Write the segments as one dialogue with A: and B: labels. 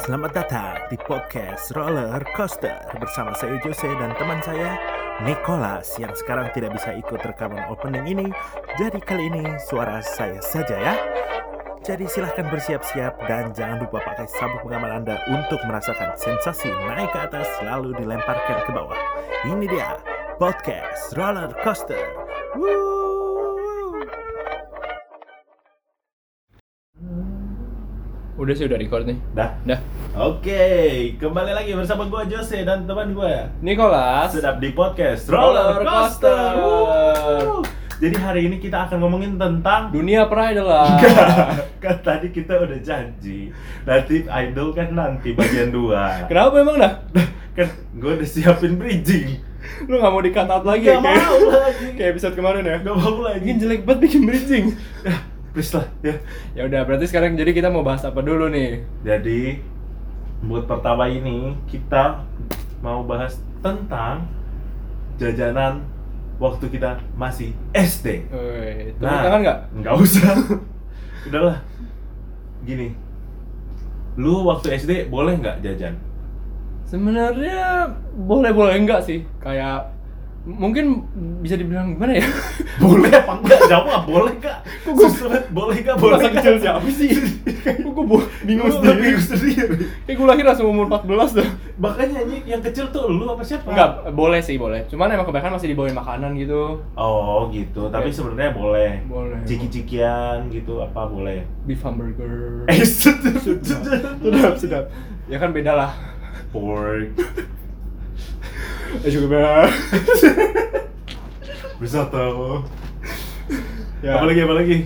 A: Selamat datang di podcast Roller Coaster bersama saya Jose dan teman saya Nicholas yang sekarang tidak bisa ikut rekaman opening ini. Jadi kali ini suara saya saja ya. Jadi silahkan bersiap-siap dan jangan lupa pakai sabuk pengaman Anda untuk merasakan sensasi naik ke atas lalu dilemparkan ke bawah. Ini dia podcast Roller Coaster. Woo!
B: Udah sih udah record nih.
A: Dah.
B: Dah.
A: Oke, kembali lagi bersama gua Jose dan teman gua.
B: Nicholas.
A: Sedap di podcast
B: Roller
A: Roller
B: Coaster.
A: Coaster. Wuh. Jadi hari ini kita akan ngomongin tentang
B: Dunia Pride lah.
A: kan tadi kita udah janji nanti idol kan nanti bagian 2
B: Kenapa emang dah?
A: kan gue udah siapin bridging
B: Lu nggak mau dikatat lagi
A: Nggak
B: ya, kayak-
A: mau lagi.
B: Kayak episode kemarin ya.
A: gak mau
B: Ini
A: lagi
B: jelek banget bikin bridging.
A: please lah ya
B: ya udah, berarti sekarang jadi kita mau bahas apa dulu nih?
A: jadi buat pertama ini kita mau bahas tentang jajanan waktu kita masih SD
B: Woi, tepuk
A: Nah.
B: tangan nggak?
A: Nggak usah. Udahlah. Gini. Lu waktu SD boleh nggak jajan?
B: Sebenarnya boleh-boleh enggak sih? Kayak m- mungkin bisa dibilang gimana ya?
A: Boleh apa enggak? Jawab boleh nggak? Susah banget, boleh nggak? Boleh
B: Masa
A: nggak?
B: kecil siapa sih? Gue bingung
A: Lu udah
B: sendiri.
A: bingung sendiri. Nah.
B: Kayak gue lahir langsung umur 14 dah.
A: Makanya anjing, yang kecil tuh lu apa siapa?
B: Enggak, boleh sih boleh. Cuman emang kebanyakan masih dibawain makanan gitu.
A: Oh gitu, tapi
B: Oke.
A: sebenarnya boleh.
B: Boleh.
A: Ciki-cikian gitu apa boleh?
B: Beef hamburger.
A: Eh, sedap,
B: sedap, sedap. Ya kan beda lah.
A: Pork.
B: Ya juga beda.
A: Bisa tahu.
B: ya.
A: Apa lagi apa lagi?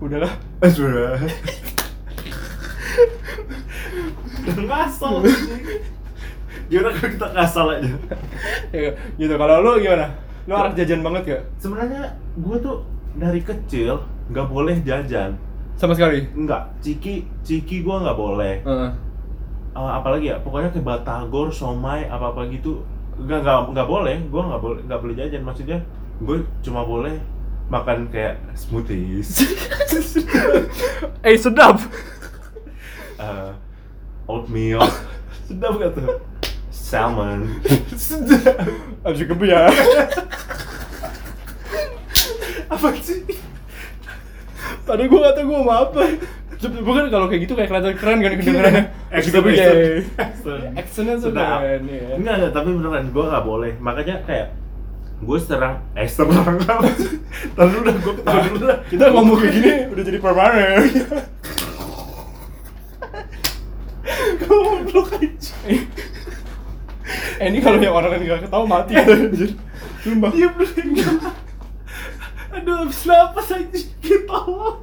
B: Udahlah.
A: Sudah. Ngasal. Yaudah kalau kita ngasal aja.
B: Ya, gitu. Kalau lu gimana? Lu arah jajan banget gak?
A: Sebenarnya gue tuh dari kecil nggak boleh jajan.
B: Sama sekali.
A: Enggak, ciki ciki gue nggak boleh.
B: Heeh.
A: Eh, apalagi ya, pokoknya ke Batagor, somai, apa apa gitu nggak nggak nggak boleh. Gue nggak boleh nggak boleh jajan maksudnya. Gue cuma boleh makan kayak smoothies,
B: Eh, sedap.
A: eh, oatmeal, sedap gak tuh? Salmon.
B: sedap. Abis juga ya.
A: apa sih?
B: Tadi gua gak tau gua mau apa. Cep- Bukan kalau kayak gitu kayak kelihatan keren kan kedengerannya. Abis juga ya. Actionnya sudah keren, iya.
A: Enggak, enggak, tapi beneran gue gak boleh Makanya kayak gue serang eh serang apa sih? Tahan dulu dah, gue ketawa dulu dah
B: Kita ngomong kayak gini udah jadi permanen.
A: goblok aja
B: Eh ini kalau yang orang lain nggak ketawa mati ya anjir. Sumpah.
A: Iya bener Aduh, abis napas aja ketawa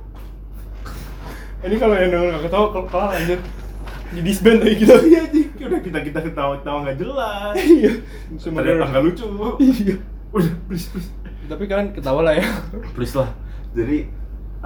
B: Ini kalau yang denger nggak ketawa kel- kelar anjir. Di disband lagi kita.
A: Iya anjing, udah kita-kita ketawa-ketawa gak jelas
B: Iya. Semua
A: Ternyata gak lucu
B: Iya.
A: Udah, please, please
B: Tapi kalian ketawa lah ya.
A: please lah jadi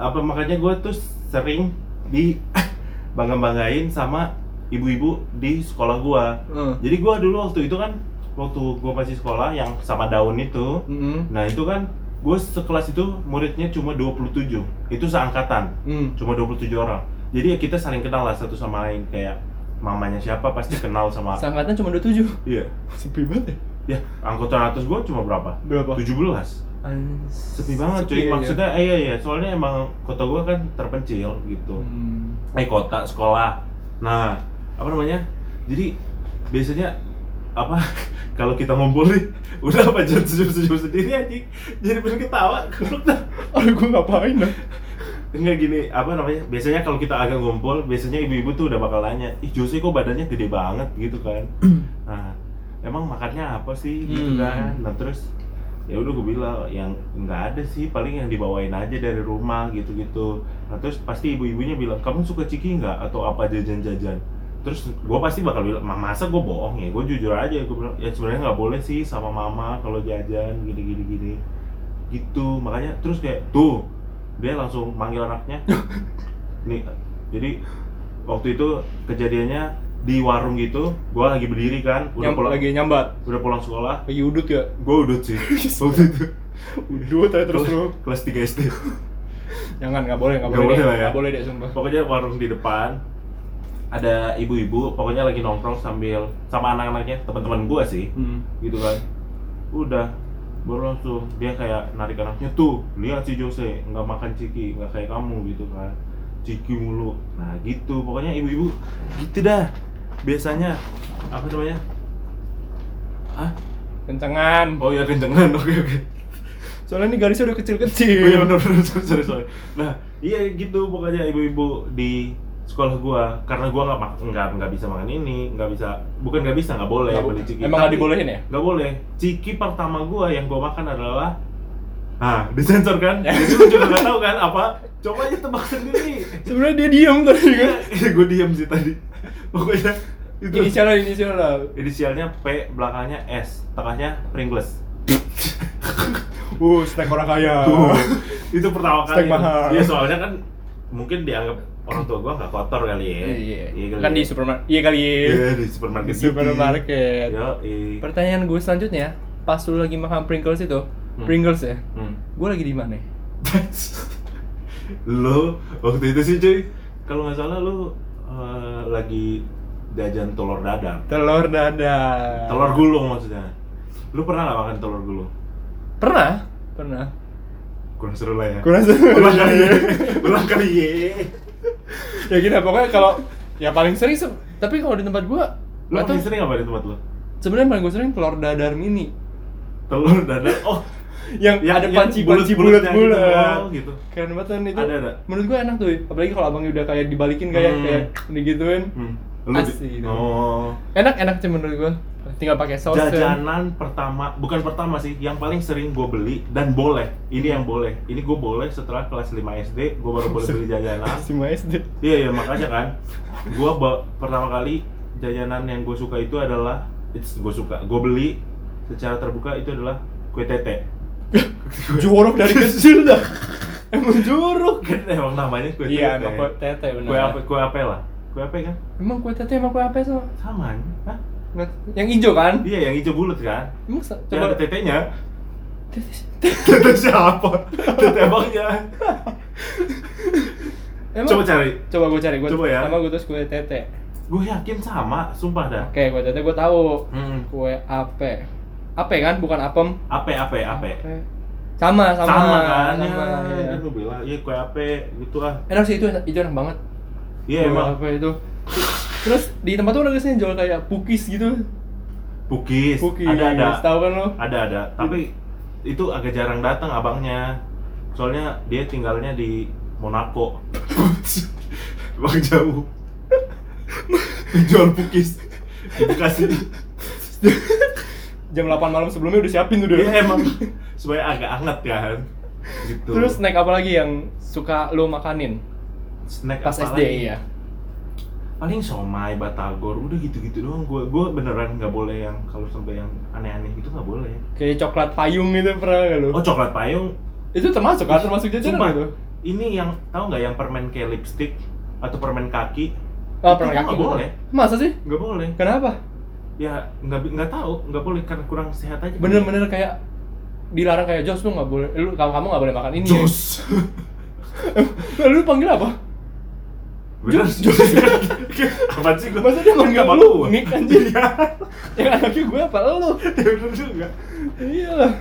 A: apa makanya gue tuh sering di bangga banggain sama ibu-ibu di sekolah gue
B: Hmm.
A: jadi gue dulu waktu itu kan waktu gue masih sekolah yang sama daun itu
B: Heeh.
A: nah itu kan gue sekelas itu muridnya cuma 27 itu seangkatan
B: Hmm.
A: cuma 27 orang jadi ya kita saling kenal lah satu sama lain kayak mamanya siapa pasti kenal sama
B: Sangkatan cuma 27.
A: iya
B: Sepi banget ya.
A: ya angkutan atas gue cuma berapa
B: Berapa?
A: 17 sepi banget cuy
B: Sepi, iya.
A: maksudnya eh, iya iya soalnya emang kota gua kan terpencil gitu
B: Hmm.
A: eh kota sekolah nah apa namanya jadi biasanya apa kalau kita ngumpul nih udah apa jangan senyum senyum sendiri aja jadi bener ketawa
B: Aduh gue ngapain dah?
A: enggak gini apa namanya biasanya kalau kita agak ngumpul biasanya ibu-ibu tuh udah bakal nanya ih Jose kok badannya gede banget gitu kan nah emang makannya apa sih gitu
B: Hmm.
A: kan nah terus ya udah gue bilang yang nggak ada sih paling yang dibawain aja dari rumah gitu gitu nah terus pasti ibu-ibunya bilang kamu suka ciki nggak atau apa jajan-jajan terus gue pasti bakal bilang "Ma, masa gue bohong ya gue jujur aja gue bilang ya sebenarnya nggak boleh sih sama mama kalau jajan gini gini gini gitu makanya terus kayak tuh dia langsung manggil anaknya nih jadi waktu itu kejadiannya di warung gitu gua lagi berdiri kan udah
B: Yang
A: pulang
B: lagi nyambat.
A: udah pulang sekolah
B: Lagi udut ya.
A: gua udut sih waktu itu
B: Udut aja terus lu.
A: kelas 3 SD
B: Jangan nggak boleh nggak
A: Nggak
B: boleh.
A: boleh
B: deh.
A: lah ya.
B: Nggak boleh deh sumpah.
A: pokoknya warung di depan ada ibu-ibu pokoknya lagi nongkrong sambil sama anak-anaknya teman-teman gua sih
B: Hmm.
A: gitu kan udah baru langsung dia kayak narik anaknya tuh lihat si Jose nggak makan ciki nggak kayak kamu gitu kan ciki mulu nah gitu pokoknya ibu-ibu gitu dah biasanya apa namanya ah
B: Kencengan.
A: oh ya kencengan oke oke
B: Soalnya ini garisnya udah kecil-kecil.
A: Oh iya bener bener sorry sorry, sorry. Nah iya gitu pokoknya ibu-ibu di sekolah gua karena gua nggak mak- nggak nggak bisa makan ini nggak bisa bukan nggak bisa nggak boleh
B: Nggak
A: beli
B: Iya, boleh.
A: ciki
B: Emang nggak dibolehin ya?
A: nggak boleh ciki pertama gua yang gua makan adalah ah disensor kan jadi lu juga nggak tahu kan apa coba aja tebak sendiri
B: Sebenarnya dia diam tadi kan.
A: Iya, gua diam sih tadi pokoknya itu
B: Inisial lah, inisial lah.
A: inisialnya P belakangnya S tengahnya Pringles
B: Uh, snack orang kaya.
A: Tuh, itu pertama kali
B: Steak mahal.
A: Iya soalnya kan mungkin dianggap orang tua gua nggak kotor kali ya kali
B: Iya, kan
A: ya.
B: di supermarket. Iya kali.
A: Iya, di supermarket
B: Di
A: City.
B: supermarket.
A: Yo,
B: Pertanyaan gue selanjutnya, pas lu lagi makan Pringles itu,
A: Hmm.
B: Pringles ya,
A: hmm.
B: gue lagi di mana?
A: lo waktu itu sih cuy kalau nggak salah lo eh, lagi jajan telur dadar
B: Telur dadar.
A: telur gulung maksudnya lu pernah nggak makan telur gulung
B: Pernah? Pernah.
A: kurang seru lah ya
B: Kurang seru.
A: ulang kali ya ulang kali ya
B: ya gini, pokoknya kalau ya paling sering, se- tapi kalau di tempat gue,
A: lu
B: atau
A: paling sering apa di tempat lo
B: sebenarnya paling gue sering telur dadar mini
A: telur dadar oh
B: yang, ada panci-panci
A: bulat-bulatnya gitu.
B: bulat-bulat.
A: Oh, gitu
B: Keren banget kan itu.
A: Ada, ada.
B: Menurut gue enak tuh, apalagi kalau abangnya udah kayak dibalikin kayak
A: Hmm.
B: kayak digituin.
A: Hmm.
B: Asli gitu.
A: Oh.
B: Enak enak sih menurut gue. Tinggal pakai saus. kan.
A: Jajanan pertama, bukan pertama sih, yang paling sering gue beli dan boleh. Ini yang boleh. Ini gue boleh setelah kelas 5 SD, gue baru boleh beli jajanan.
B: Si Mas deh.
A: Iya iya makanya kan. Gue pertama kali jajanan yang gue suka itu adalah, gue suka, gue beli secara terbuka itu adalah kue tete.
B: jorok dari kecil dah. Emang jorok.
A: Kan emang namanya kue tete.
B: Iya, emang kue Nah. tete benar.
A: Kue apa? Kue apa lah? Kue apa kan?
B: Emang kue tete emang kue apa so?
A: Sama. Hah?
B: Yang hijau kan?
A: Iya yang hijau bulat kan?
B: Emang sa-
A: Yang ada
B: coba
A: tetenya.
B: tete.
A: Tete siapa? Tete abangnya.
B: Emang
A: Coba cari.
B: coba gue cari gue.
A: Coba ya.
B: Sama gue terus kue tete.
A: Gue yakin sama, sumpah dah.
B: Oke, kue tete gue tahu.
A: Hmm.
B: Kue ape. Ape kan bukan apem.
A: Ape, ape, ape.
B: Sama sama.
A: Sama kan? Ya,
B: sama, iya.
A: kan gue bilang, iya kue ape gitu ah.
B: Enak sih itu enak- itu enak banget.
A: Iya
B: Kue
A: emang
B: Ape itu. Terus di tempat tuh ada nggak sih yang jual kayak pukis gitu?
A: bugis.
B: Pukis.
A: Ada ada.
B: Tahu kan lo?
A: Ada ada. Tapi itu agak jarang datang abangnya. Soalnya dia tinggalnya di Monaco. Bang jauh. Jual bugis. Di Bekasi.
B: Jam 8 malam sebelumnya udah siapin tuh
A: Dia Iya, emang supaya agak anget kan. Gitu.
B: Terus snack apa lagi yang suka lo makanin
A: snack
B: pas
A: apa
B: SD
A: lagi?
B: iya?
A: paling somai batagor udah gitu-gitu doang gue gue beneran nggak boleh yang kalau sampai yang aneh-aneh gitu nggak boleh
B: Kayak coklat payung gitu pernah nggak lo?
A: oh coklat payung
B: Itu termasuk kan? Termasuk jajanan
A: Sumpah,
B: itu?
A: ini yang tahu nggak yang permen kayak lipstick atau permen kaki
B: Ah,
A: Itu
B: pernah
A: nggak
B: kaki
A: boleh.
B: Masa sih?
A: nggak boleh
B: Kenapa?
A: ya nggak bi- nggak tahu nggak boleh karena kurang sehat aja
B: Bener-bener kayak dilarang kayak Jos lu nggak boleh, lu kamu kamu nggak boleh makan ini. ya?"
A: jos
B: Lah, lu panggil apa?
A: bener jos apa sih gue
B: Masa dia manggil
A: Nggak
B: lu?
A: mau.
B: Nick anjir.
A: Iya.
B: Yang anaknya gue apa lu?
A: ya bener juga
B: Iya lah.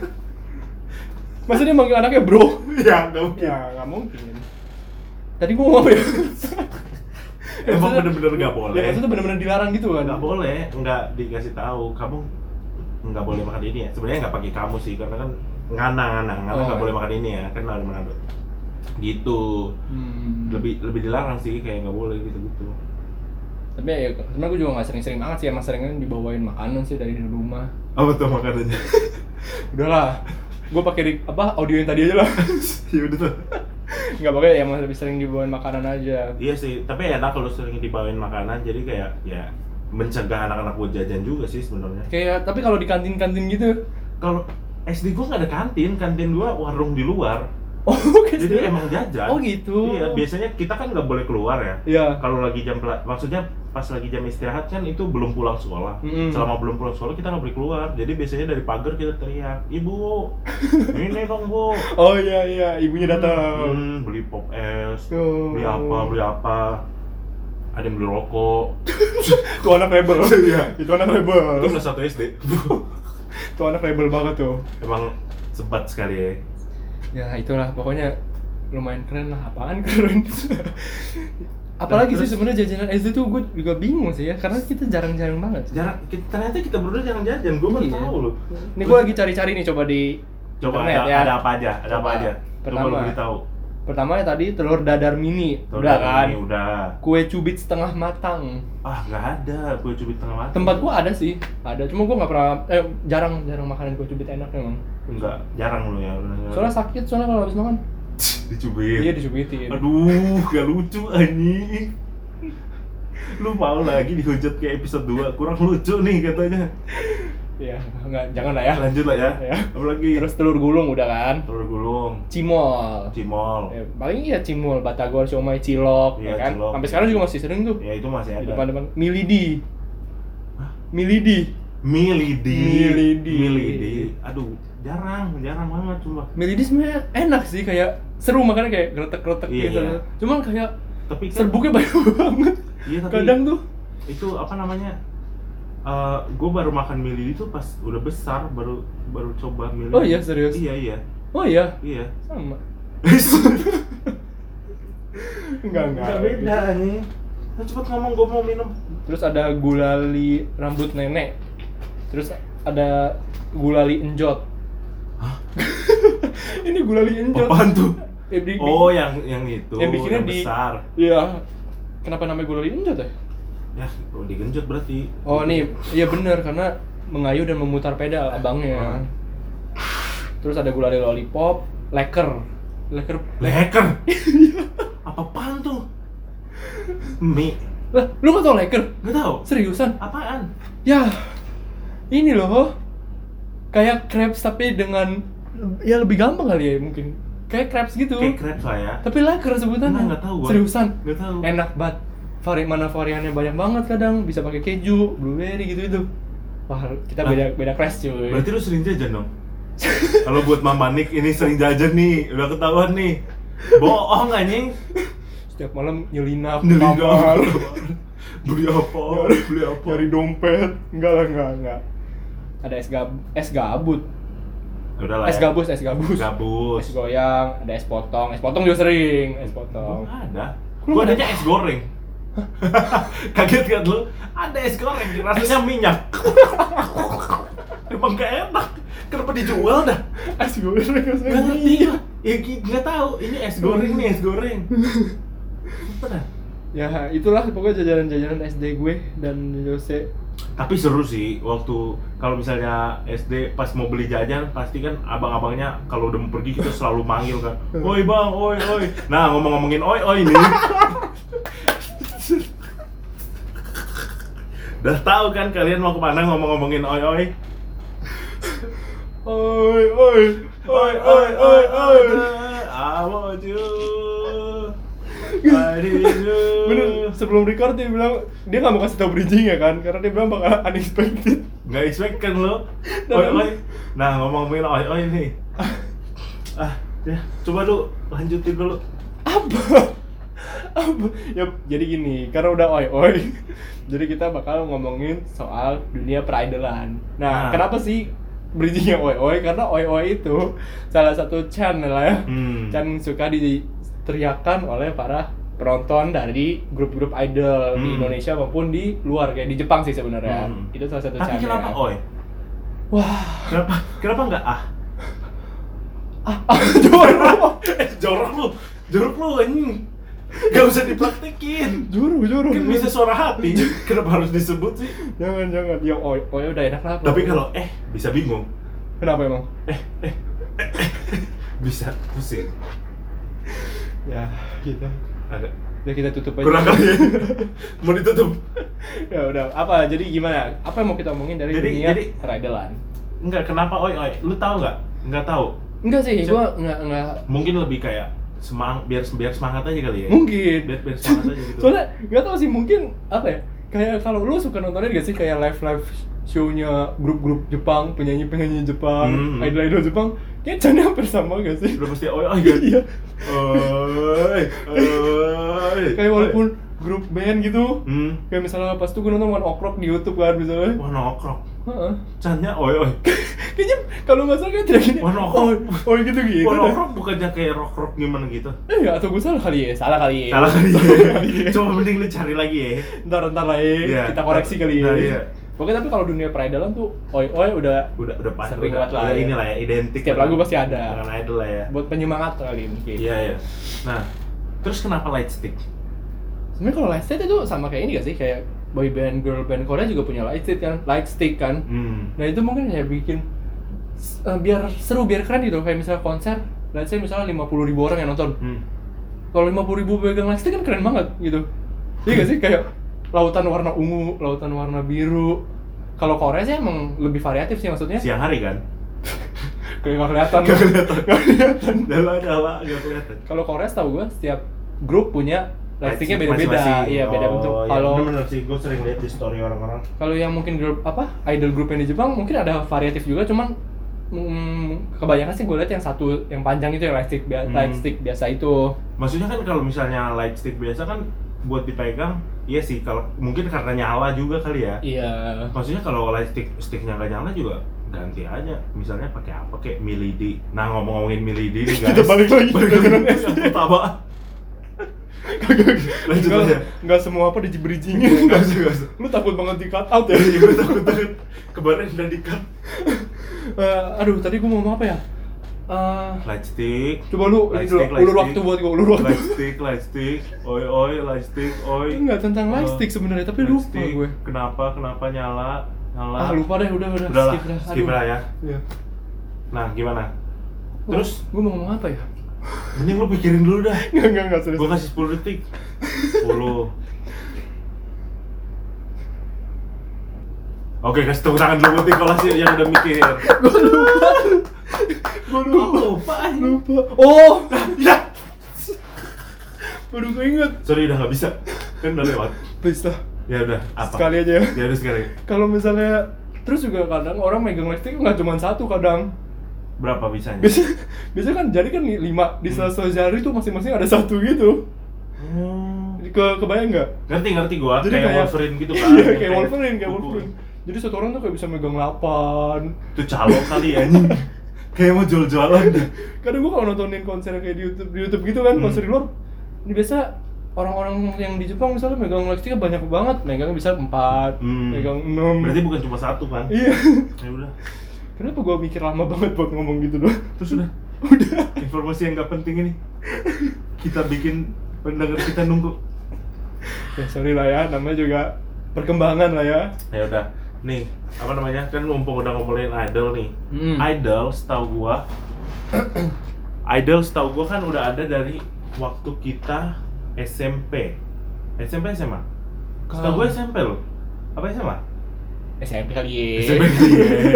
B: Masa dia manggil anaknya bro?
A: ya nggak mungkin
B: Ya nggak mungkin. Tadi gue ngomong ya.
A: emang
B: Maksudnya-
A: bener-bener nggak boleh
B: Ya maksudnya bener-bener dilarang gitu kan?
A: nggak boleh nggak dikasih tahu kamu nggak boleh makan ini ya sebenarnya nggak pakai kamu sih karena kan ngana ngana ngana
B: Oh,
A: nggak boleh
B: iya.
A: makan ini ya kan ada menado gitu
B: Hmm.
A: lebih lebih dilarang sih kayak nggak boleh gitu gitu
B: tapi ya sebenarnya gue juga nggak sering-sering banget sih emang seringnya dibawain makanan sih dari rumah
A: apa tuh makanannya
B: udahlah gue pakai di- apa audio yang tadi aja lah
A: ya udah tuh
B: nggak pakai ya emang lebih sering dibawain makanan aja
A: iya sih tapi enak kalau sering dibawain makanan jadi kayak ya mencegah anak-anak buat jajan juga sih sebenarnya
B: kayak tapi kalau di kantin-kantin gitu
A: kalau SD gua nggak ada kantin kantin gua warung di luar
B: oh gitu
A: jadi emang jajan
B: Oh, gitu.
A: iya biasanya kita kan nggak boleh keluar ya
B: Iya.
A: kalau lagi jam pela- maksudnya pas lagi jam istirahat kan itu belum pulang sekolah
B: Mm-mm.
A: selama belum pulang sekolah kita nggak boleh keluar jadi biasanya dari pagar kita teriak ibu ini dong bu
B: oh iya iya ibunya
A: Hmm, beli pop es
B: Oh.
A: beli apa beli apa ada yang beli rokok
B: Tuh anak rebel.
C: Iya.
B: Itu anak rebel.
A: itu kelas satu SD
B: Tuh anak rebel banget tuh.
A: emang sempat sekali ya
B: Ya itulah pokoknya lumayan keren lah apaan keren. Apalagi
A: Nah,
B: sih
A: Terus-
B: sebenarnya jajanan SD tuh gue juga bingung sih ya karena kita jarang-jarang banget.
A: jarang kita, ternyata kita berdua jarang jajan gue baru
B: Iya.
A: tahu loh
B: Ini gue lagi cari-cari nih coba di
A: coba
B: internet
A: ada,
B: ya.
A: ada apa aja ada apa
B: Coba.
A: aja coba
B: Pertama.
A: lu beritahu
B: Pertama ya tadi telur dadar mini,
A: Tahu
B: udah
A: dari
B: kan.
A: ini, udah
B: Kue cubit setengah matang.
A: ah nggak ada kue cubit tengah matang
B: Tempat gua ada sih, ada. Cuma gua nggak pernah, eh, jarang jarang makanan kue cubit enak emang.
A: nggak jarang lu ya bener-bener.
B: Soalnya sakit soalnya kalau habis makan.
A: dicubit
B: Iya dicubitin.
A: aduh gak lucu anjing lu mau lagi dihujat kayak episode 2 kurang lucu nih katanya
B: Iya, nggak jangan lah ya.
A: lanjut lah ya
B: Ya.
A: apalagi
B: Terus telur gulung udah kan.
A: telur gulung
B: Cimol.
A: cimol
B: Ya, paling iya cimol, batagor, siomay, cilok,
A: Iya,
B: ya kan?
A: cilok.
B: Sampai sekarang juga masih sering tuh.
A: ya itu masih
B: Di
A: ada
B: depan-depan milidi. Milidi.
A: milidi
B: Milidi.
A: milidi aduh jarang jarang banget cuma
B: Milidi sebenarnya enak sih kayak seru makanya kayak geletek-geletek
A: Iya,
B: gitu.
A: iya.
B: Cuman kayak
A: tapi kan
B: serbuknya banyak banget.
A: iya, tapi
B: Kadang tuh
A: itu apa namanya Eh, gue baru makan milidi itu pas udah besar baru baru coba milidi
B: Oh iya, serius?
A: iya iya
B: Oh iya,
A: iya
B: sama.
A: Enggak,
B: Enggak,
A: beda nih. Lu cepet ngomong gue mau minum.
B: Terus ada gulali rambut nenek. Terus ada gulali enjot. Ini gulali enjot.
A: Apaan tuh?
B: Ya, di-
A: Oh, yang yang itu.
B: Yang bikinnya di-
A: besar.
B: Iya. Kenapa namanya gulali enjot ya?
A: Ya, kalau digenjot berarti.
B: Oh nih, iya bener karena mengayuh dan memutar pedal
A: Ah.
B: abangnya. Terus ada gulali lollipop, leker. Leker.
A: Leker. apa pan tuh? Mie.
B: Lah, lu gak tau leker?
A: Gak tau.
B: Seriusan?
A: Apaan?
B: Ya, ini loh. oh. Kayak crepes tapi dengan ya lebih gampang kali ya mungkin. Kayak crepes gitu.
A: Kayak crepes lah ya.
B: Tapi leker sebutannya.
A: Enggak, nggak tahu gua.
B: Seriusan?
A: Nggak tahu.
B: Enak banget. Vari mana variannya banyak banget kadang bisa pakai keju, blueberry gitu-gitu. Wah, kita
A: Lah.
B: beda beda class cuy.
A: Berarti lu sering jajan dong. kalau buat Mama Nick ini sering jajan nih, udah ketahuan nih. Bohong anjing.
B: Setiap malam nyelinap,
A: Nyelinap.
B: kamar,
A: Beli apa? Beli apa?
B: nyari dompet. Enggak lah, enggak, enggak. Ada es gab es gabut.
A: Udah lah.
B: Es
A: ya.
B: gabus, es gabus.
A: Gabus.
B: Es goyang, ada es potong. Es potong juga sering, es potong.
A: Gua nggak Oh, ada.
B: Lu
A: Gua
B: nggak
A: adanya es goreng. Kaget kan lu? Ada es goreng, rasanya minyak. Emang gak enak. Kenapa dijual dah?
B: Es goreng, es
A: Gak ngerti lah. Ya ki- nggak tahu. Ini es goreng nih es goreng. Apa dah?
B: Ya, itulah pokoknya jajanan-jajanan SD gue dan Jose.
A: Tapi seru sih waktu kalau misalnya SD pas mau beli jajan pasti kan abang-abangnya kalau udah mau pergi kita selalu manggil kan, oi bang, oi oi. Nah ngomong-ngomongin oi oi nih, udah tahu kan kalian mau kemana ngomong-ngomongin oi oi,
B: Oi, oi,
A: oi oi oi oi. I want you. I need you.
B: Bener, sebelum record dia bilang dia nggak mau kasih tau bridging ya kan, karena dia bilang bakal unexpected.
A: Nggak expect kan lo?
B: Dan-
A: Oi oi. Nah ngomong-ngomongin oi oi nih. Ah, ya coba lu lanjutin dulu.
B: apa apa ya jadi gini karena udah oi oi jadi kita bakal ngomongin soal dunia peridolan
A: Nah.
B: nah, kenapa sih bridgingnya oi oi karena oi oi itu salah satu channel ya
A: Hmm.
B: channel yang suka diteriakan oleh para penonton dari grup-grup idol di
A: Hmm.
B: Indonesia maupun di luar kayak di Jepang sih sebenarnya
A: Hmm.
B: itu salah satu
A: Tapi
B: channel
A: kenapa oi?
B: wah
A: Kenapa kenapa nggak ah?
B: ah, ah jorok
A: Eh, jorok lu, jorok lu anjing. Gak usah dipraktekin.
B: jorok jorok
A: Kan bisa suara hati, kenapa harus disebut sih?
B: jangan jangan ya oi oi udah enak lah
A: Tapi kalau eh bisa bingung,
B: kenapa emang
A: bisa pusing.
B: ya gitu
A: Agak
B: udah kita tutup aja
A: kurang kali. ya. Mau ditutup.
B: ya udah apa jadi gimana apa yang mau kita omongin dari
A: Jadi-
B: dunia
A: jadi-
B: peridolan
A: Enggak, kenapa oi oi? Lu tahu nggak? Nggak tahu.
B: enggak sih
A: Cep-
B: gua enggak enggak
A: Mungkin lebih kayak semang biar biar semangat aja kali ya.
B: mungkin
A: Biar biar semangat aja gitu.
B: soalnya nggak tahu sih mungkin apa ya kayak kalau lu suka nontonnya gak sih kayak live live show-nya grup-grup Jepang penyanyi-penyanyi
A: Hmm.
B: Jepang idol-idol Jepang kayak channel hampir sama gak sih
A: Iya. Lu mesti oi oi kan?
B: iya
A: Oi. Oi.
B: kayak walaupun grup band gitu
A: Hmm.
B: kayak misalnya pas itu gue nonton One Ok Rock di YouTube kan misalnya
A: Wah nokrok.
B: Heeh.
A: Cannya oi oi.
B: kayaknya kalau nggak salah kayak tidak gini
A: One Ok
B: oh,
A: Rock.
B: oh gitu gitu
A: Wah
B: dah.
A: nokrok bukannya kayak rock rock gimana gitu?
B: eh ya, atau gue salah kali ya salah kali ya
A: Salah kali
B: ya.
A: ya. Coba mending lu cari lagi ya.
B: ntar ntar lah ya
A: Iya.
B: kita koreksi kali ya
A: Nah, iya.
B: pokoknya tapi kalau dunia peredalan tuh oi oi udah
A: Udah udah pasti.
B: Sering
A: Udah,
B: banget lah,
A: udah
B: ya.
A: ini lah ya identik.
B: Setiap
A: lah.
B: lagu pasti ada.
A: Dengan idol lah ya.
B: buat penyemangat kali mungkin
A: Iya iya. Nah, terus kenapa light stick?
B: sebenarnya kalau light state itu sama kayak ini gak sih kayak boy band girl band Korea juga punya light state kan light stick kan
A: Hmm.
B: nah itu mungkin kayak bikin s- eh, biar seru biar keren gitu kayak misalnya konser let's say misalnya 50.000 ribu orang yang nonton
A: Hmm.
B: kalau 50.000 ribu pegang light stick kan keren banget gitu iya gak sih kayak lautan warna ungu lautan warna biru kalau Korea sih emang lebih variatif sih maksudnya
A: Siang hari kan?
B: kayak gak kelihatan
A: Gak kelihatan. Dalam ada apa? Gak kelihatan.
B: kalau Korea setahu gue setiap grup punya light sticknya beda-beda
A: Masing-masing.
B: iya beda
A: Oh,
B: bentuk
A: iya,
B: kalau
A: bener-bener sih, gue sering lihat di story orang-orang.
B: kalau yang mungkin grup apa idol grup yang di Jepang mungkin ada variatif juga cuman mm, kebanyakan sih gue lihat yang satu yang panjang itu yang lightstick bia-
A: Hmm.
B: lightstick biasa itu
A: Maksudnya kan kalau misalnya light stick biasa kan buat dipegang, iya sih kalau mungkin karena nyala juga kali ya.
B: iya
A: Maksudnya kalau light stick sticknya nggak nyala juga ganti aja. Misalnya pakai apa kayak milidi. Nah ngomong-ngomongin milidi nih guys.
B: Kita balik lagi.
A: Balik lagi. Eh, Yang pertama. Lanjut
B: Nggak-
A: aja.
B: nggak semua apa di bridgingin
A: Nggak usah, nggak usah.
B: lu takut banget di cut out ya
A: Iya, gue takut banget. Kemarin udah di cut.
B: Eh, aduh tadi gue mau ngomong apa ya Eh,
A: Light stick.
B: coba lu ini
A: Light
B: dulu
A: stick, light
B: ulur
A: stick.
B: waktu buat gue ulur waktu
A: Light stick, light stick. Oi oi, light stick, oi.
B: itu nggak tentang
A: Eh,
B: lightstick sebenarnya tapi
A: light
B: lupa
A: stick.
B: gue
A: Kenapa? Kenapa nyala? Nyala.
B: ah lupa deh udah udah
A: Udah lah,
B: skip dah
A: skip lah ya.
B: Iya.
A: Nah, gimana? Terus
B: gue mau ngomong apa ya
A: mending lu pikirin dulu dah.
B: nggak nggak nggak serius
A: Gua kasih 10 detik. 10. Oke, kasih tepuk tangan dulu buat Nicholas yang udah mikir.
B: gue lupa gue lupa
A: lupa
B: lupa oh baru gue inget
A: Sorry udah nggak bisa. Kan udah lewat.
B: please lah
A: Ya udah, apa?
B: sekali aja ya
A: Ya udah sekali.
B: kalau misalnya terus juga kadang orang megang lightstick nggak cuma satu kadang
A: Berapa bisanya?
B: biasa biasanya kan jari kan lima di
A: Hmm.
B: sela-sela jari tuh masing-masing ada satu gitu
A: Hmm.
B: ke kebayang nggak
A: Ngerti ngerti gua
B: Jadi
A: kayak,
B: kayak-
A: Wolverine gitu kan.
B: iya kayak Wolverine kayak
A: kuku.
B: Wolverine jadi satu orang tuh kayak bisa megang delapan
A: Itu calo kali ya ini. kayak mau jual-jualan.
B: kadang gue kalau nontonin konser kayak di YouTube di YouTube gitu kan
A: Hmm.
B: konser di luar ini biasa orang-orang yang di Jepang misalnya megang lightstick banyak banget megang bisa empat
A: Hmm.
B: megang enam
A: Berarti bukan cuma satu kan?
B: iya
A: Ya udah.
B: kenapa gue mikir lama banget buat ngomong gitu doang
A: Terus udah.
B: udah
A: Informasi yang nggak penting ini. Kita bikin pendengar kita nunggu.
B: ya sorry lah ya namanya juga perkembangan lah ya
A: Ya udah. Nih, apa namanya? Kan mumpung udah ngomongin idol nih.
B: Hmm.
A: Idol setahu gua Idol setahu gua kan udah ada dari waktu kita SMP. SMP SMA. Setahu gua SMP loh. Apa SMA?
B: SMP kali
A: SMP kali ya.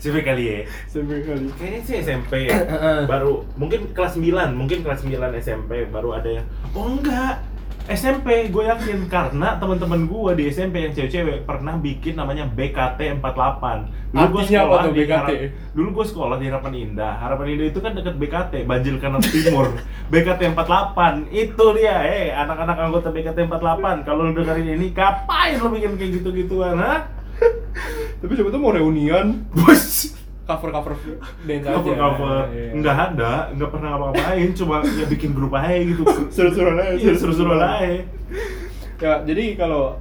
A: SMP kali ya.
B: SMP kali
A: Kayaknya sih SMP ya. baru mungkin kelas 9, mungkin kelas 9 SMP baru ada yang oh enggak. SMP gue yakin karena teman-teman gue di SMP yang cewek-cewek pernah bikin namanya BKT 48. Dulu gue
B: Artinya apa
A: sekolah
B: tuh
A: di
B: BKT?
A: Harap- dulu gue sekolah di Harapan Indah. Harapan Indah itu kan dekat BKT, Banjil Kanan Timur. BKT 48 itu dia, eh anak-anak anggota BKT 48. Kalau lu dengerin ini, ngapain lu bikin kayak gitu-gituan, ha?
B: tapi coba tuh mau reunian
A: Bus.
B: cover cover dance aja
A: cover cover
B: Iya.
A: nggak ada nggak pernah ngapa-ngapain cuma ya bikin grup aja gitu
B: Seru-seruan aja,
A: iya seru-seruan aja
B: ya jadi kalau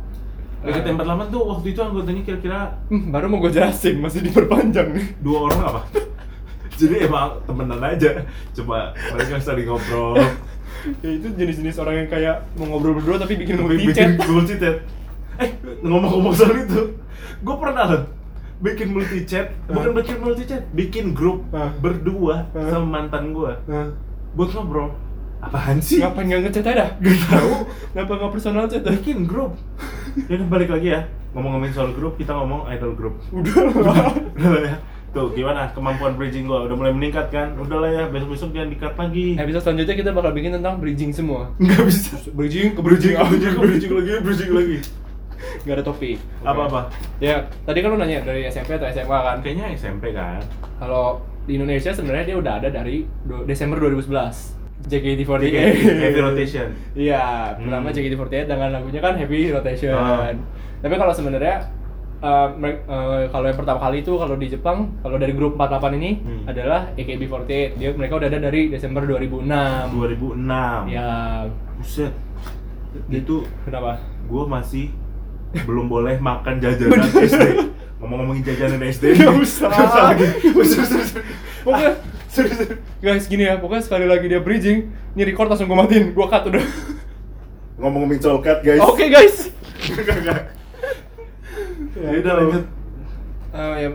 A: Dekat tempat lama tuh waktu itu anggotanya kira-kira
B: Hmm, baru mau gue jelasin, masih diperpanjang nih.
A: dua orang apa jadi emang temenan aja cuma mereka saling ngobrol
B: Ya itu jenis-jenis orang yang kayak mau ngobrol berdua tapi bikin multi
A: bikin
B: chat.
A: multi chat eh ngomong-ngomong soal itu gue pernah loh bikin multi chat bukan bikin multi chat bikin grup
B: Hah?
A: berdua
B: Hah?
A: sama mantan gue
B: Hah?
A: buat ngobrol apaan sih
B: Ngapain nggak ngechat aja dah?
A: gak tahu
B: Kenapa nggak personal chat dah?
A: bikin grup ya udah, balik lagi ya ngomong-ngomongin soal grup kita ngomong idol grup
B: Udah lah.
A: udah lah ya tuh gimana kemampuan bridging gua udah mulai meningkat kan udah lah ya besok besok jangan dikat lagi
B: Episode selanjutnya kita bakal bikin tentang bridging semua.
A: nggak bisa
B: Bridging, ke
A: bridging bridging bridging lagi bridging lagi
B: Gak ada topik. Oke.
A: apa apa
B: Ya, tadi kan lu nanya dari SMP atau SMA kan?
A: kayaknya SMP kan
B: Kalau di Indonesia sebenarnya dia udah ada dari do- Desember 2011.
A: Oh,
B: JKT48
A: E Happy rotation.
B: Iya,
A: Hmm.
B: pertama JKT48 dengan lagunya kan Happy Rotation.
A: Ah.
B: Tapi kalau sebenarnya eh, merek- eh, kalau yang pertama kali itu kalau di Jepang, kalau dari grup 48 ini
A: Hmm.
B: adalah AKB48. Dia mereka udah ada dari Desember 2006.
A: 2006.
B: Ya,
A: Buset. Itu
B: kenapa?
A: gue masih belum boleh makan jajanan SD. Ngomong-ngomongin jajanan SD.
B: Nggak usah.
A: Nggak usah lagi.
B: Pokoknya serius, serius. guys gini ya, pokoknya sekali lagi dia bridging, ini record langsung gue matiin, gue cut udah.
A: Ngomong-ngomongin colcat guys.
B: Oke guys.
A: ya udah lanjut.
B: Eh, ya,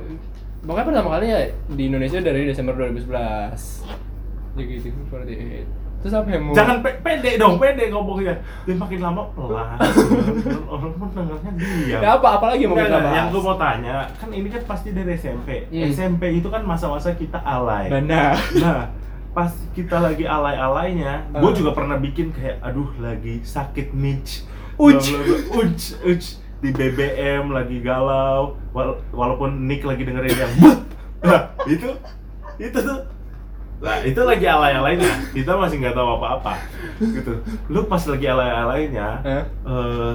B: pokoknya pertama kali ya di Indonesia dari Desember 2011 jadi gitu seperti itu terus apa yang mau
A: Jangan pe- pendek dong, pendek ngomongnya. Dia makin lama pelan. Orang pun dengarnya diam.
B: ya apa apalagi yang mau
A: Nggak,
B: kita
A: nggak.
B: bahas
A: yang gue mau tanya, kan ini kan pasti dari SMP.
B: Hmm.
A: SMP itu kan masa-masa kita alay.
B: benar
A: Nah, pas kita lagi alay-alaynya,
B: Ah.
A: gue juga pernah bikin kayak, aduh lagi sakit niche.
B: Uj.
A: Bla, bla, bla. uj, uj. Di BBM lagi galau, Wal- walaupun Nick lagi dengerin yang "Buh." nah, itu, itu tuh. Nah, itu lagi alay-alaynya, kita masih nggak tahu apa-apa gitu. Lu pas lagi alay-alaynya,
B: Eh?
A: eh,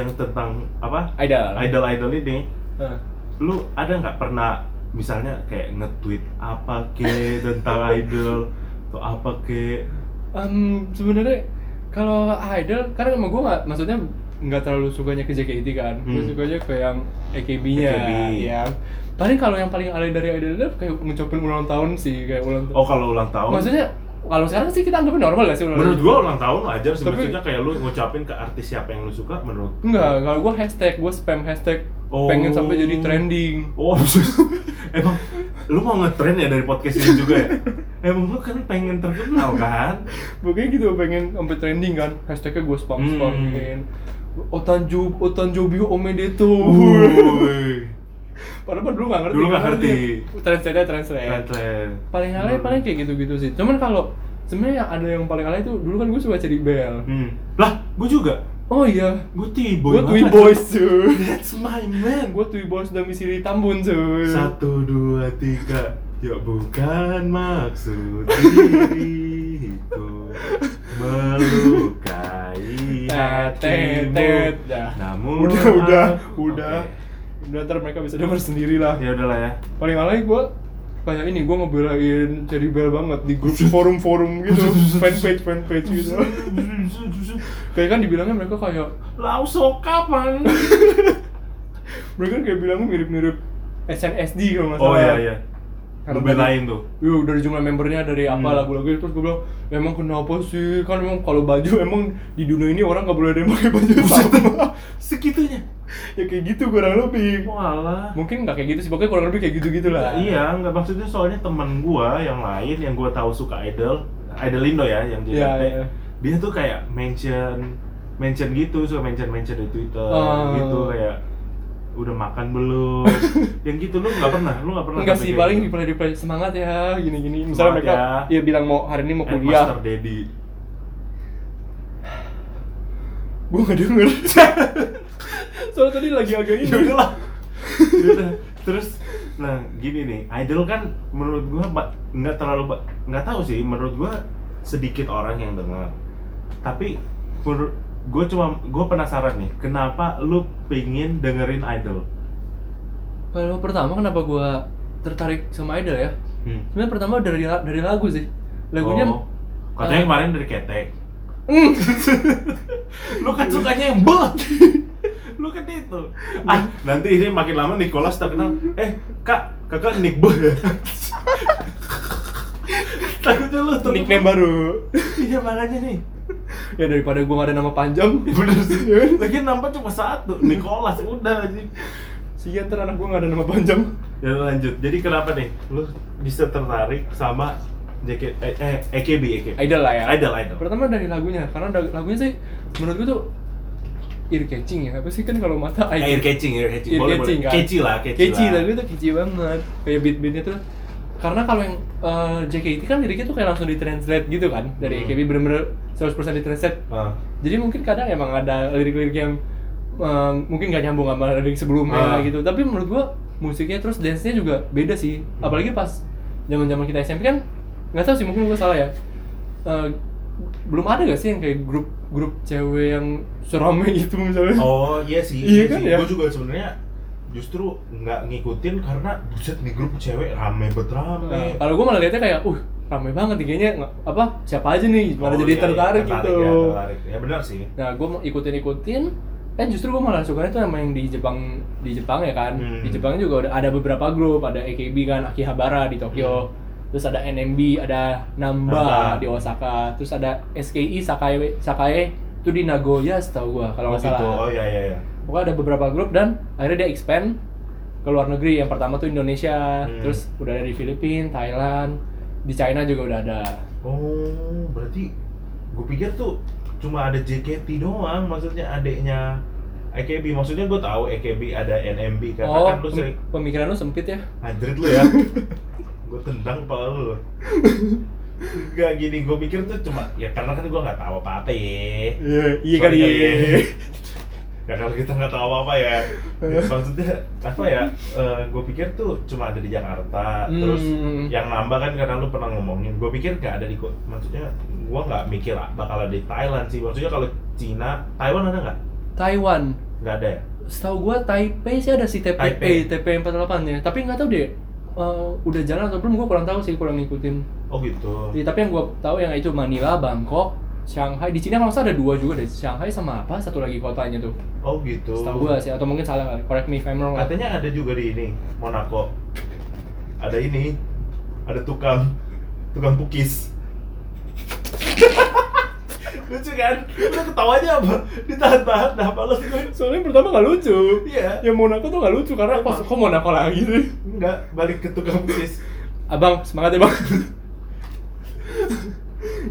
A: yang tentang apa
B: idol
A: idol-idol ini,
B: Eh.
A: lu ada nggak pernah misalnya kayak nge-tweet apa ke tentang idol atau apa ke
B: Em, sebenarnya kalau idol karena emang gue nggak maksudnya nggak terlalu sukanya ke JKT kan gue
A: Hmm.
B: sukanya ke yang AKB-nya
A: AKB.
B: ya paling kalau yang paling alay dari idol itu kayak ngucapin ulang tahun sih kayak ulang tahun
A: oh kalau ulang tahun
B: maksudnya kalau sekarang sih kita anggapnya normal gak sih ulang
A: menurut
B: tahun?
A: gua ulang tahun wajar sih
B: Tapi-
A: maksudnya kayak lu ngucapin ke artis siapa yang lu suka menurut
B: Enggak, kalau gue hashtag, gue spam hashtag
A: Oh.
B: pengen sampai jadi trending.
A: oh emang lu mau ngetrend ya dari podcast ini juga ya emang lu kan pengen terkenal kan
B: Pokoknya gitu pengen sampai trending kan. Hashtagnya gue spam
A: Hmm.
B: spamin. Otanju Otanjobio Omedeto. Uhuh.
A: Wuih.
B: Padahal mah dulu nggak ngerti.
A: Uh. Dulu nggak
B: kan,
A: ngerti.
B: dia Translate aja, translate.
A: Keren.
B: Paling alay
A: Hmm.
B: paling kayak gitu-gitu sih. Cuman kalau sebenarnya yang ada yang paling alay itu dulu kan gue suka jadi bel.
A: hmm. lah gua juga
B: Oh iya.
A: gua tiboy
B: Gue Twi
A: banget.
B: Boys cuy.
A: that's my man
B: gue Twi Boys domisili Tambun cuy.
A: Satu, dua, tiga Ya bukan maksud diri itu Melukai
B: Tet,
A: hatimu
B: tet, dah.
A: Namun
B: udah
A: aku-
B: udah
A: Oke.
B: udah udah ntar mereka bisa denger sendiri lah
A: Ya udahlah ya
B: paling alay gue kayak ini gue ngebelain Cherry Bell banget di grup forum-forum gitu fanpage fanpage gitu kayak kan dibilangnya mereka kayak
A: Lau sok kapan?
B: mereka kan kayak bilangnya mirip-mirip SNSD kalau nggak salah
A: Oh iya iya
B: Karena
A: Ngebelain tuh
B: Yo, Iya, dari jumlah membernya dari apa
A: Hmm.
B: lagu-lagu itu, terus gue bilang emang kenapa sih kan emang kalau baju emang di dunia ini orang nggak boleh ada yang pakai baju sama
A: Segitunya
B: ya kayak gitu kurang lebih
A: Walah
B: mungkin nggak kayak gitu sih pokoknya kurang lebih kayak gitu gitulah
A: Iya, nggak maksudnya soalnya temen gua yang lain yang gua tahu suka idol, idol Indo ya yang JKT.
B: Iya, iya.
A: Dia tuh kayak mention mention gitu, suka mention-mention di Twitter
B: Oh.
A: gitu kayak udah makan belum. yang gitu lu nggak pernah, lu nggak pernah.
B: Enggak
A: sampai
B: sih,
A: kayak
B: paling di
A: gitu?
B: play di play semangat ya, gini-gini. Misalnya mereka
A: Semangat
B: ya. bilang mau hari ini mau
A: And Master
B: kuliah,
A: Daddy.
B: gue nggak denger. Soalnya tadi lagi agak ini.
A: Ya udahlah. Ya udah. Terus nah gini nih, idol kan menurut gua ba- nggak terlalu ba- nggak tahu sih, menurut gua sedikit orang yang dengar. Tapi menurut gue cuma gue penasaran nih, kenapa lu pingin dengerin idol?
B: Kalau pertama kenapa gue tertarik sama idol ya?
A: Hmm.
B: Sebenarnya pertama dari la- dari lagu sih. Lagunya
A: Oh. katanya
B: eh,
A: kemarin dari ketek.
B: Mm.
A: Hmm. lu kan sukanya yang belak. lu kan itu. Ah, nanti ini makin lama Nicholas terkenal. Eh, Kak, Kakak Nick Bo ya. Takutnya lu terkenal.
B: nickname baru.
A: Iya makanya nih.
B: ya daripada gue gak ada nama panjang, Ya kan?
A: Bener sih. Lagi nampak cuma satu, Nicholas udah aja.
B: Sian ntar anak gue gak ada nama panjang.
A: Ya lanjut. Jadi kenapa nih lu bisa tertarik sama JK eh, eh AKB AKB?
B: Idol lah ya.
A: Idol idol.
B: Pertama dari lagunya, karena da- lagunya sih menurut gue tuh ear catching ya. Apa sih kan kalau mata
A: Eh, Air catching, air catching. Boleh, boleh.
B: kan?
A: Catchy lah, catchy,
B: Catchy,
A: lah.
B: lagu itu catchy banget. Kayak beat-beatnya tuh karena kalau yang eh, JKT kan liriknya tuh kayak langsung ditranslate gitu kan
A: Hmm.
B: dari AKB bener-bener 100% ditranslate
A: Ah.
B: jadi mungkin kadang emang ada lirik-lirik yang eh, mungkin gak nyambung sama lirik
A: Ah.
B: sebelumnya gitu tapi menurut gua musiknya terus dance-nya juga beda
A: Hmm.
B: sih apalagi pas zaman zaman kita SMP kan nggak tahu sih mungkin gua salah ya Eh, belum ada gak sih yang kayak grup grup cewek yang serame itu misalnya
A: Oh iya sih,
B: Iya
A: sih.
B: kan ya?
A: Gue juga sebenarnya justru nggak ngikutin karena buset nih grup cewek rame bet
B: Nah,
A: rame.
B: kalau gue malah liatnya kayak uh rame banget nih kayaknya nggak- apa siapa aja nih malah jadi tertarik, gitu
A: Ya, Oh, iya, tertarik. ya benar sih.
B: nah gue ikutin ikutin eh justru gue malah sukanya tuh sama yang di Jepang di Jepang ya kan
A: Hmm.
B: di Jepang juga udah ada beberapa grup ada AKB kan Akihabara di Tokyo terus ada NMB ada
A: Hmm.
B: Namba
A: Namba.
B: di Osaka terus ada SKI Sakae Sakae itu di Nagoya setahu gue kalau
A: Oh,
B: nggak
A: gitu.
B: salah
A: Oh iya iya iya.
B: pokoknya ada beberapa grup dan akhirnya dia expand ke luar negeri yang pertama tuh Indonesia
A: Hmm.
B: terus udah ada di Filipina Thailand di China juga udah ada
A: Oh, berarti gue pikir tuh cuma ada JKT doang, maksudnya adeknya AKB. Maksudnya gue tahu AKB ada NMB karena
B: oh
A: kan lu sering
B: pem- pemikiran lu sempit ya
A: Anjrit lu ya. gue tendang kepala lu. Gak gini, gue pikir tuh cuma ya karena kan gue nggak tahu apa-apa ya.
B: iya
A: kali ya. Ya kalau kita nggak tahu apa-apa ya.
B: Iya.
A: Maksudnya apa ya? gue pikir tuh cuma ada di Jakarta. Terus
B: Hmm.
A: yang nambah kan karena lu pernah ngomongin. Gue pikir nggak ada di ko- maksudnya gue nggak mikir bakal ada di Thailand sih. Maksudnya kalau Cina, Taiwan ada nggak?
B: Taiwan
A: Nggak ada ya.
B: setahu gua Taipei sih eh, ada si TP
A: Taipei.
B: TP 48 ya tapi nggak tahu deh eh, udah jalan atau belum gua kurang tahu sih kurang ngikutin
A: Oh gitu.
B: Ya, tapi yang gua tahu yang itu Manila Bangkok Shanghai di Cina kalau nggak salah ada dua juga deh Shanghai sama apa satu lagi kotanya tuh
A: Oh gitu.
B: setahu gua sih atau mungkin salah kali correct me if I'm wrong lah.
A: Katanya ada juga di ini Monaco. Ada ini. Ada tukang tukang pukis. Lucu kan? Lu ketawanya apa? Ditahan-tahan, nah males gue.
B: Soalnya yang pertama nggak lucu.
A: Iya.
B: Yang Monaco tuh nggak lucu karena kok kok Monaco lagi sih.
A: Enggak, balik ke tukang pukis.
B: Abang semangat ya bang.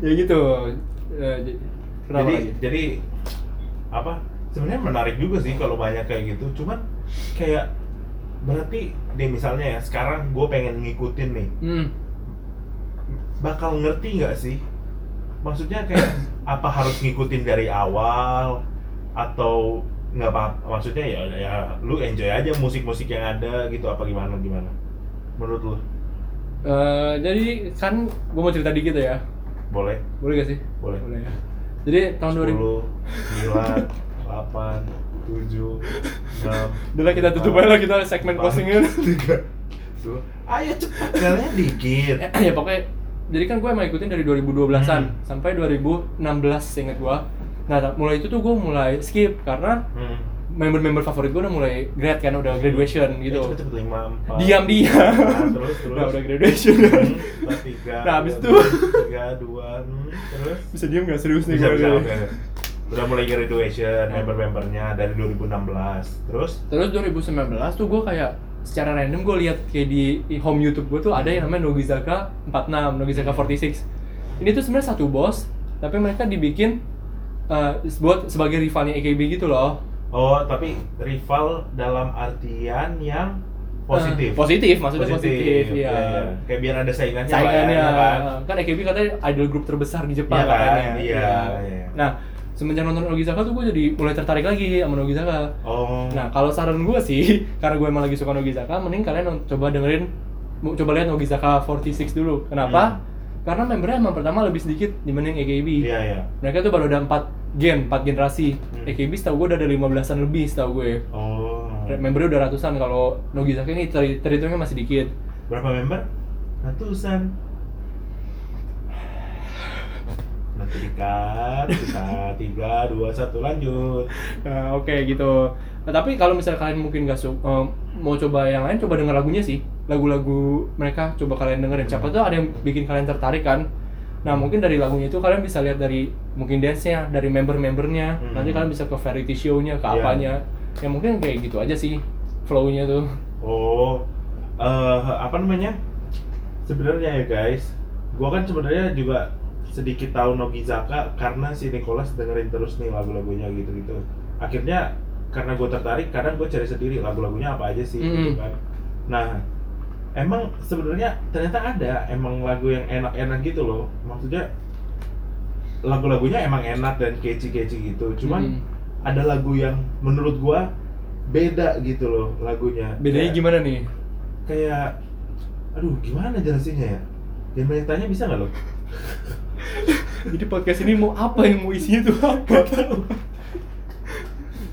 B: ya gitu. Eh, j- Kenapa
A: jadi
B: lagi?
A: jadi apa? Sebenarnya menarik juga sih kalau banyak kayak gitu. Cuman kayak berarti deh misalnya ya sekarang gue pengen ngikutin nih
B: Hmm.
A: bakal ngerti nggak sih? Maksudnya kayak apa harus ngikutin dari awal atau nggak apa? Maksudnya ya ya lu enjoy aja musik-musik yang ada gitu apa gimana gimana? Menurut lu
B: Eh, jadi kan gue mau cerita dikit ya.
A: boleh?
B: Boleh gak sih?
A: Boleh.
B: Boleh ya. Jadi tahun 2000.
A: 10, 9, 8, 7, 6
B: Udah lah kita tutup aja lah kita segmen closingnya.
A: 3, 2 Ayo cepet, jalannya dikit
B: ya pokoknya jadi kan gue emang ikutin dari 2012an
A: Hmm.
B: sampai 2016 inget gue. Nah ta- mulai itu tuh gue mulai skip karena
A: hmm.
B: member-member favorit gue udah mulai grad kan udah graduation
A: Ayo
B: gitu
A: Cepet-cepet 5, 4
B: diam diam
A: Terus, Iya, terus
B: nah udah graduation
A: Hmm, empat, tiga,
B: Nah, habis
A: dua, tiga dua hmm, terus
B: bisa diam gak serius nih
A: bisa
B: gue
A: bisa oke. udah mulai graduation member membernya dari 2016 terus
B: terus 2019 tuh gue kayak secara random gue lihat kayak di di home YouTube gue tuh ada yang namanya Nogizaka 46 Nogizaka
A: Hmm.
B: 46 ini tuh sebenarnya satu bos tapi mereka dibikin eh, buat sebagai rivalnya AKB gitu loh
A: oh tapi rival dalam artian yang positif
B: Eh, positif maksudnya positif,
A: Iya,
B: ya
A: iya. kayak biar ada saingannya lah ya,
B: saingannya
A: ya kan?
B: kan AKB katanya idol grup terbesar di Jepang
A: Iya kan?
B: katanya.
A: Iya, iya.
B: nah semenjak nonton Nogizaka tuh gue jadi mulai tertarik lagi sama Nogizaka
A: oh
B: nah kalau saran gue sih karena gue emang lagi suka Nogizaka mending kalian non- coba dengerin mu- coba lihat Nogizaka 46 dulu kenapa karena membernya emang pertama lebih sedikit dibanding AKB
A: Hmm. iya iya
B: mereka tuh baru ada 4 gen 4 generasi
A: Hmm.
B: AKB setahu gue udah ada 15an lebih setahu gue
A: oh
B: membernya udah ratusan kalau Nogizaka ini ter- terhitungnya masih dikit
A: berapa member ratusan nanti dikat kita tiga dua satu lanjut
B: Nah, Oke gitu. Nah, tapi kalau misalnya kalian mungkin gak su- eh, mau coba yang lain, coba denger lagunya sih. Lagu-lagu mereka coba kalian dengerin. Siapa
A: Hmm.
B: tuh ada yang bikin kalian tertarik kan? Nah mungkin dari lagunya itu kalian bisa lihat dari mungkin dance-nya, dari member-membernya.
A: Hmm.
B: Nanti kalian bisa ke variety show-nya, ke
A: Iya.
B: apanya. Ya mungkin kayak gitu aja sih flow-nya tuh.
A: Oh, eh apa namanya? Sebenarnya ya guys, gua kan sebenarnya juga sedikit tahu Nogizaka karena si Nicholas dengerin terus nih lagu-lagunya gitu-gitu. Akhirnya karena gue tertarik, kadang gue cari sendiri lagu-lagunya apa aja sih gitu
B: Mm-mm.
A: kan. Nah, emang sebenarnya ternyata ada emang lagu yang enak-enak gitu loh. Maksudnya lagu-lagunya emang enak dan catchy-catchy gitu. Cuman
B: Hmm.
A: ada lagu yang menurut gua beda gitu loh lagunya.
B: bedanya
A: Kayak-
B: gimana nih?
A: kayak aduh gimana jelasinnya ya dan banyak tanya bisa nggak lo
B: Jadi podcast ini mau apa yang mau isinya tuh apa?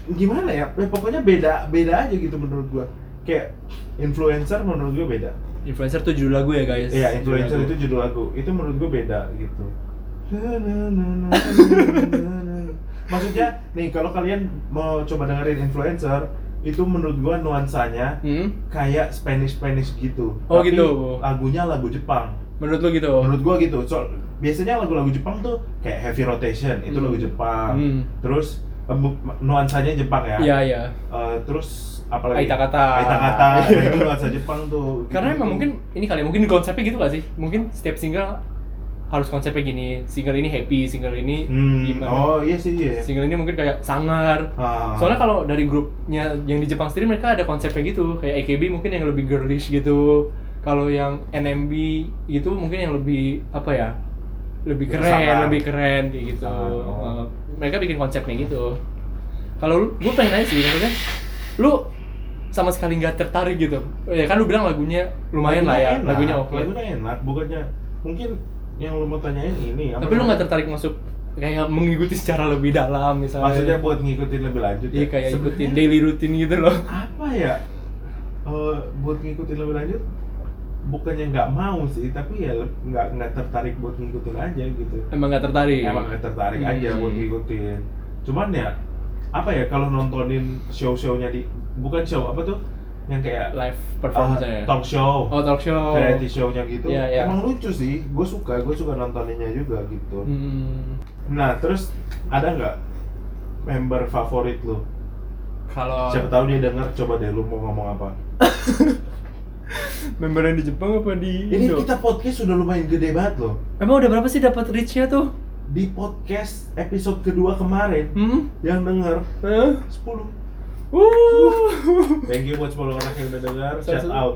A: gimana ya Ya, pokoknya beda beda aja gitu menurut gua kayak influencer menurut gua beda
B: Influencer tuh judul lagu ya guys.
A: Iya, influencer itu judul lagu. Itu menurut gue beda gitu. Na, na, na, na, na, na, na. Maksudnya nih kalau kalian mau coba dengerin influencer itu menurut gua nuansanya
B: Hmm?
A: kayak Spanish Spanish gitu.
B: Oh, gitu.
A: Lagunya lagu Jepang.
B: Menurut lo gitu?
A: Menurut gua gitu. So, biasanya lagu-lagu Jepang tuh kayak Heavy Rotation itu
B: Hmm.
A: lagu Jepang.
B: Hmm.
A: Terus em, nuansanya Jepang ya.
B: Iya iya.
A: Eh, terus apalagi
B: Aita kata.
A: Aita kata. Nah, itu nuansa Jepang tuh.
B: Karena
A: Gitu.
B: emang mungkin ini kali ya, mungkin konsepnya gitu gak sih? Mungkin setiap single harus konsepnya gini. Single ini happy, single ini
A: Hmm,
B: gimana?
A: oh iya sih iya.
B: Single ini mungkin kayak sangar.
A: Ah.
B: Soalnya kalau dari grupnya yang di Jepang sendiri mereka ada konsepnya gitu. Kayak AKB mungkin yang lebih girlish gitu. Kalau yang NMB gitu mungkin yang lebih apa ya? Lebih keren,
A: Sangar.
B: lebih keren kayak gitu.
A: Sangar, oh.
B: Eh, mereka bikin konsepnya gitu. Kalau lu, gue pengen nanya sih, maksudnya lu sama sekali nggak tertarik gitu. Ya kan lu bilang lagunya lumayan lah ya,
A: enak,
B: lagunya oke.
A: Lagunya enak, bukannya mungkin yang lu mau tanyain ini. apa
B: Tapi lu nggak
A: namanya?
B: tertarik masuk kayak mengikuti secara lebih dalam misalnya.
A: Maksudnya buat ngikutin lebih lanjut. ya?
B: Iya kayak ikutin
A: Sebenarnya
B: daily routine gitu loh.
A: Apa ya? Eh, buat ngikutin lebih lanjut bukannya nggak mau sih tapi ya le- nggak nggak tertarik buat ngikutin aja gitu
B: Emang nggak tertarik.
A: emang nggak tertarik aja
B: Hmm.
A: buat ngikutin cuman ya apa ya kalau nontonin show-shownya di bukan show apa tuh yang kayak
B: Live
A: eh,
B: performance ya.
A: talk show
B: Oh talk show.
A: variety show-nya gitu
B: Iya, iya.
A: emang lucu sih gue suka gue suka nontoninnya juga gitu
B: Hmm,
A: nah terus ada nggak member favorit lu
B: kalau
A: siapa tahu dia denger coba deh lu mau ngomong apa
B: member yang di Jepang apa di
A: ini
B: Indo?
A: kita podcast sudah lumayan gede banget loh
B: Emang udah berapa sih dapat reach-nya tuh?
A: di podcast episode kedua kemarin
B: Hmm?
A: yang denger
B: Huh?
A: 10
B: Wuh.
A: thank you buat 10 orang yang udah denger shout
B: Satu-
A: out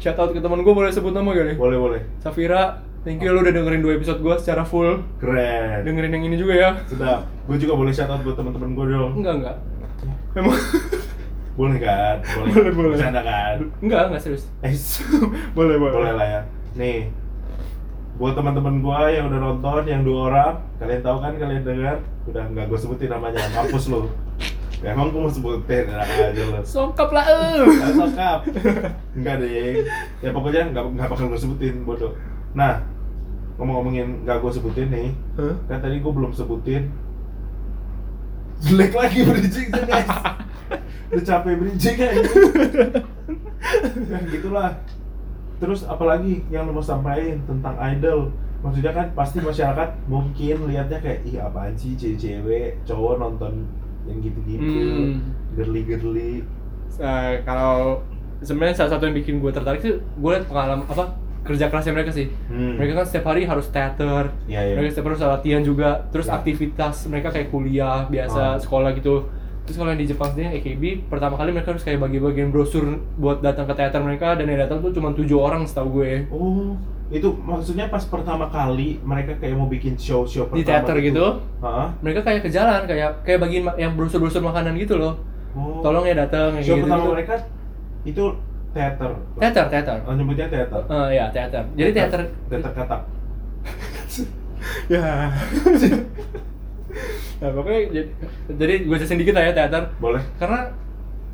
B: Shout out ke teman gue boleh sebut nama gak nih?
A: boleh boleh
B: Safira, thank you lu udah dengerin dua episode gue secara full.
A: keren
B: Dengerin yang ini juga ya?
A: sedap gue juga boleh shout out buat teman-teman gue dong
B: Enggak enggak.
A: Iya.
B: Emang
A: boleh kan boleh
B: Boleh, boleh.
A: Bercanda kan
B: enggak enggak serius.
A: Eh,
B: boleh boleh.
A: boleh lah ya nih buat teman-teman gua yang udah nonton yang dua orang kalian tahu kan kalian dengar udah nggak gue sebutin namanya mampus lu emang gue mau sebutin Nah, enak aja lu
B: Songkap lah. eh.
A: Nggak sokap nggak deh ya pokoknya nggak nggak bakal gue sebutin bodoh nah ngomong-ngomongin nggak gue sebutin nih
B: Hah?
A: kan tadi gue belum sebutin jelek lagi bridging tuh guys udah capek bridging aja ya gitulah terus apalagi yang lo mau sampaikan tentang idol maksudnya kan pasti masyarakat mungkin lihatnya kayak ih apaan sih cewek-cewek cowok nonton yang gitu-gitu
B: Hmm.
A: gerli-gerli
B: Eh, kalau sebenarnya salah satu yang bikin gue tertarik sih gue liat pengalaman apa kerja kerasnya mereka sih
A: Hmm.
B: mereka kan setiap hari harus teater
A: Iya, iya.
B: mereka setiap hari harus latihan juga terus
A: Ya.
B: aktivitas mereka kayak kuliah
A: Ah.
B: biasa sekolah gitu terus kalau yang di Jepang sendiri AKB pertama kali mereka harus kayak bagi-bagian brosur buat datang ke teater mereka dan yang datang tuh cuma tujuh orang setahu gue
A: oh itu maksudnya pas pertama kali mereka kayak mau bikin show-show pertama
B: di teater gitu
A: Hah?
B: mereka kayak ke jalan kayak kayak bagiin ma- yang brosur-brosur makanan gitu loh
A: Oh.
B: tolong ya datang
A: show
B: gitu,
A: pertama mereka itu teater
B: teater teater
A: oh, nyebutnya teater
B: Eh, ya teater jadi teater
A: teater katak
B: ya nah pokoknya jadi, jadi gue jelasin dikit lah ya teater
A: boleh
B: karena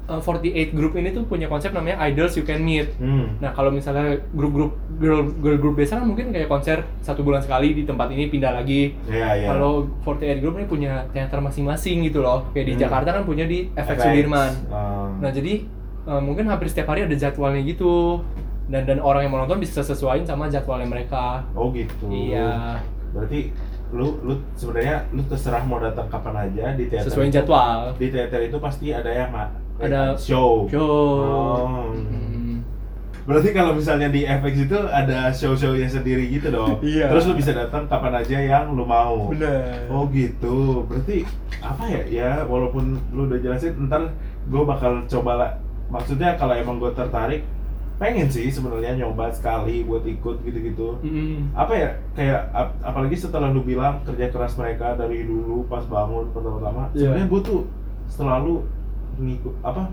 B: uh, 48 group ini tuh punya konsep namanya idols you can meet
A: hmm.
B: nah kalau misalnya grup-grup girl girl group biasa kan mungkin kayak konser satu bulan sekali di tempat ini pindah lagi
A: ya ya
B: kalau 48 group ini punya teater masing-masing gitu loh kayak di
A: Hmm.
B: Jakarta kan punya di FX Sudirman
A: Ah.
B: nah jadi uh, mungkin hampir setiap hari ada jadwalnya gitu dan dan orang yang mau nonton bisa sesuaiin sama jadwalnya mereka
A: oh gitu
B: iya
A: berarti lu lu sebenarnya lu terserah mau datang kapan aja di teater
B: sesuaiin
A: itu-
B: jadwal
A: di teater itu pasti ada yang ma-
B: Ada Hmm.
A: show.
B: Yo.
A: Oh. Berarti kalau misalnya di FX itu ada show-shownya sendiri gitu dong.
B: Iya.
A: Terus lu bisa datang kapan aja yang lu mau.
B: Bener.
A: Oh gitu, berarti apa ya? Ya walaupun lu udah jelasin, ntar gue bakal coba lah. Maksudnya kalau emang gue tertarik, pengen sih sebenarnya nyoba sekali buat ikut gitu-gitu.
B: Mm-mm.
A: Apa ya? Kayak ap- apalagi setelah lu bilang kerja keras mereka dari dulu pas bangun pertama-tama,
B: Iya.
A: sebenarnya gue tuh selalu ngikut apa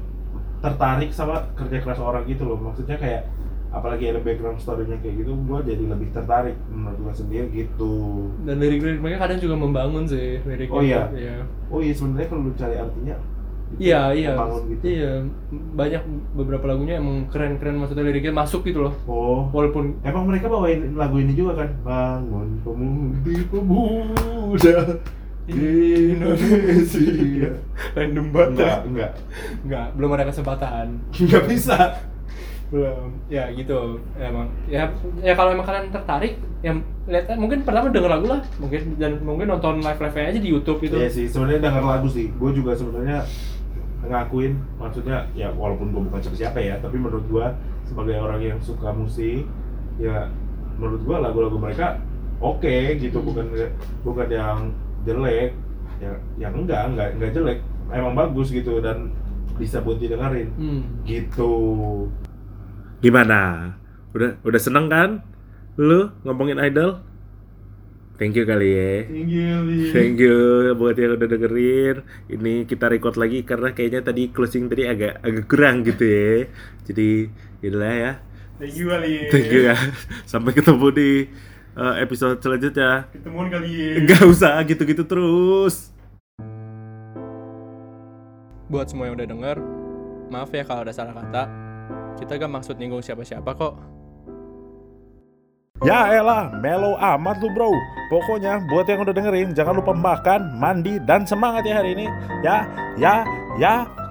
A: tertarik sama kerja keras orang gitu loh. Maksudnya kayak apalagi ada background story-nya kayak gitu gue jadi lebih tertarik menurut gue sendiri gitu
B: dan lirik-lirik mereka kadang juga membangun sih liriknya
A: Oh, iya.
B: iya
A: oh iya sebenarnya kalau lu cari artinya gitu,
B: iya iya
A: membangun gitu
B: iya banyak beberapa lagunya emang keren-keren maksudnya liriknya masuk gitu loh
A: oh
B: walaupun
A: Emang mereka bawain lagu ini juga kan? Bangun pemudi pemuda Indonesia
B: random
A: Enggak, enggak
B: enggak belum ada kesempatan
A: Enggak bisa
B: belum ya gitu emang ya ya kalau emang kalian tertarik ya lihat aja. mungkin pertama denger lagu lah mungkin dan mungkin nonton live live aja di YouTube gitu
A: Iya sih, sebenarnya denger lagu sih Gue juga sebenarnya ngakuin Maksudnya, ya walaupun gue bukan siapa-siapa ya Tapi menurut gue, sebagai orang yang suka musik Ya, menurut gue lagu-lagu mereka oke gitu Bukan bukan yang jelek Ya, yang enggak, enggak, enggak jelek Emang bagus gitu dan bisa buat didengerin
B: hmm.
A: gitu
D: Gimana? Udah udah seneng kan? Lu ngomongin idol? Thank you kali ya. Thank you buat yang udah dengerin. Ini kita record lagi karena kayaknya tadi closing tadi agak agak kurang gitu ya. Jadi inilah ya.
B: thank you kali
D: Thank you ya. Sampai ketemu di uh, episode selanjutnya.
B: ketemuan kali ya.
D: Enggak usah gitu-gitu terus.
B: buat semua yang udah denger maaf ya kalau ada salah kata kita gak maksud nyinggung siapa-siapa kok
E: Ya elah, melo amat lu bro. Pokoknya buat yang udah dengerin, jangan lupa makan, mandi, dan semangat ya hari ini. Ya, ya, ya,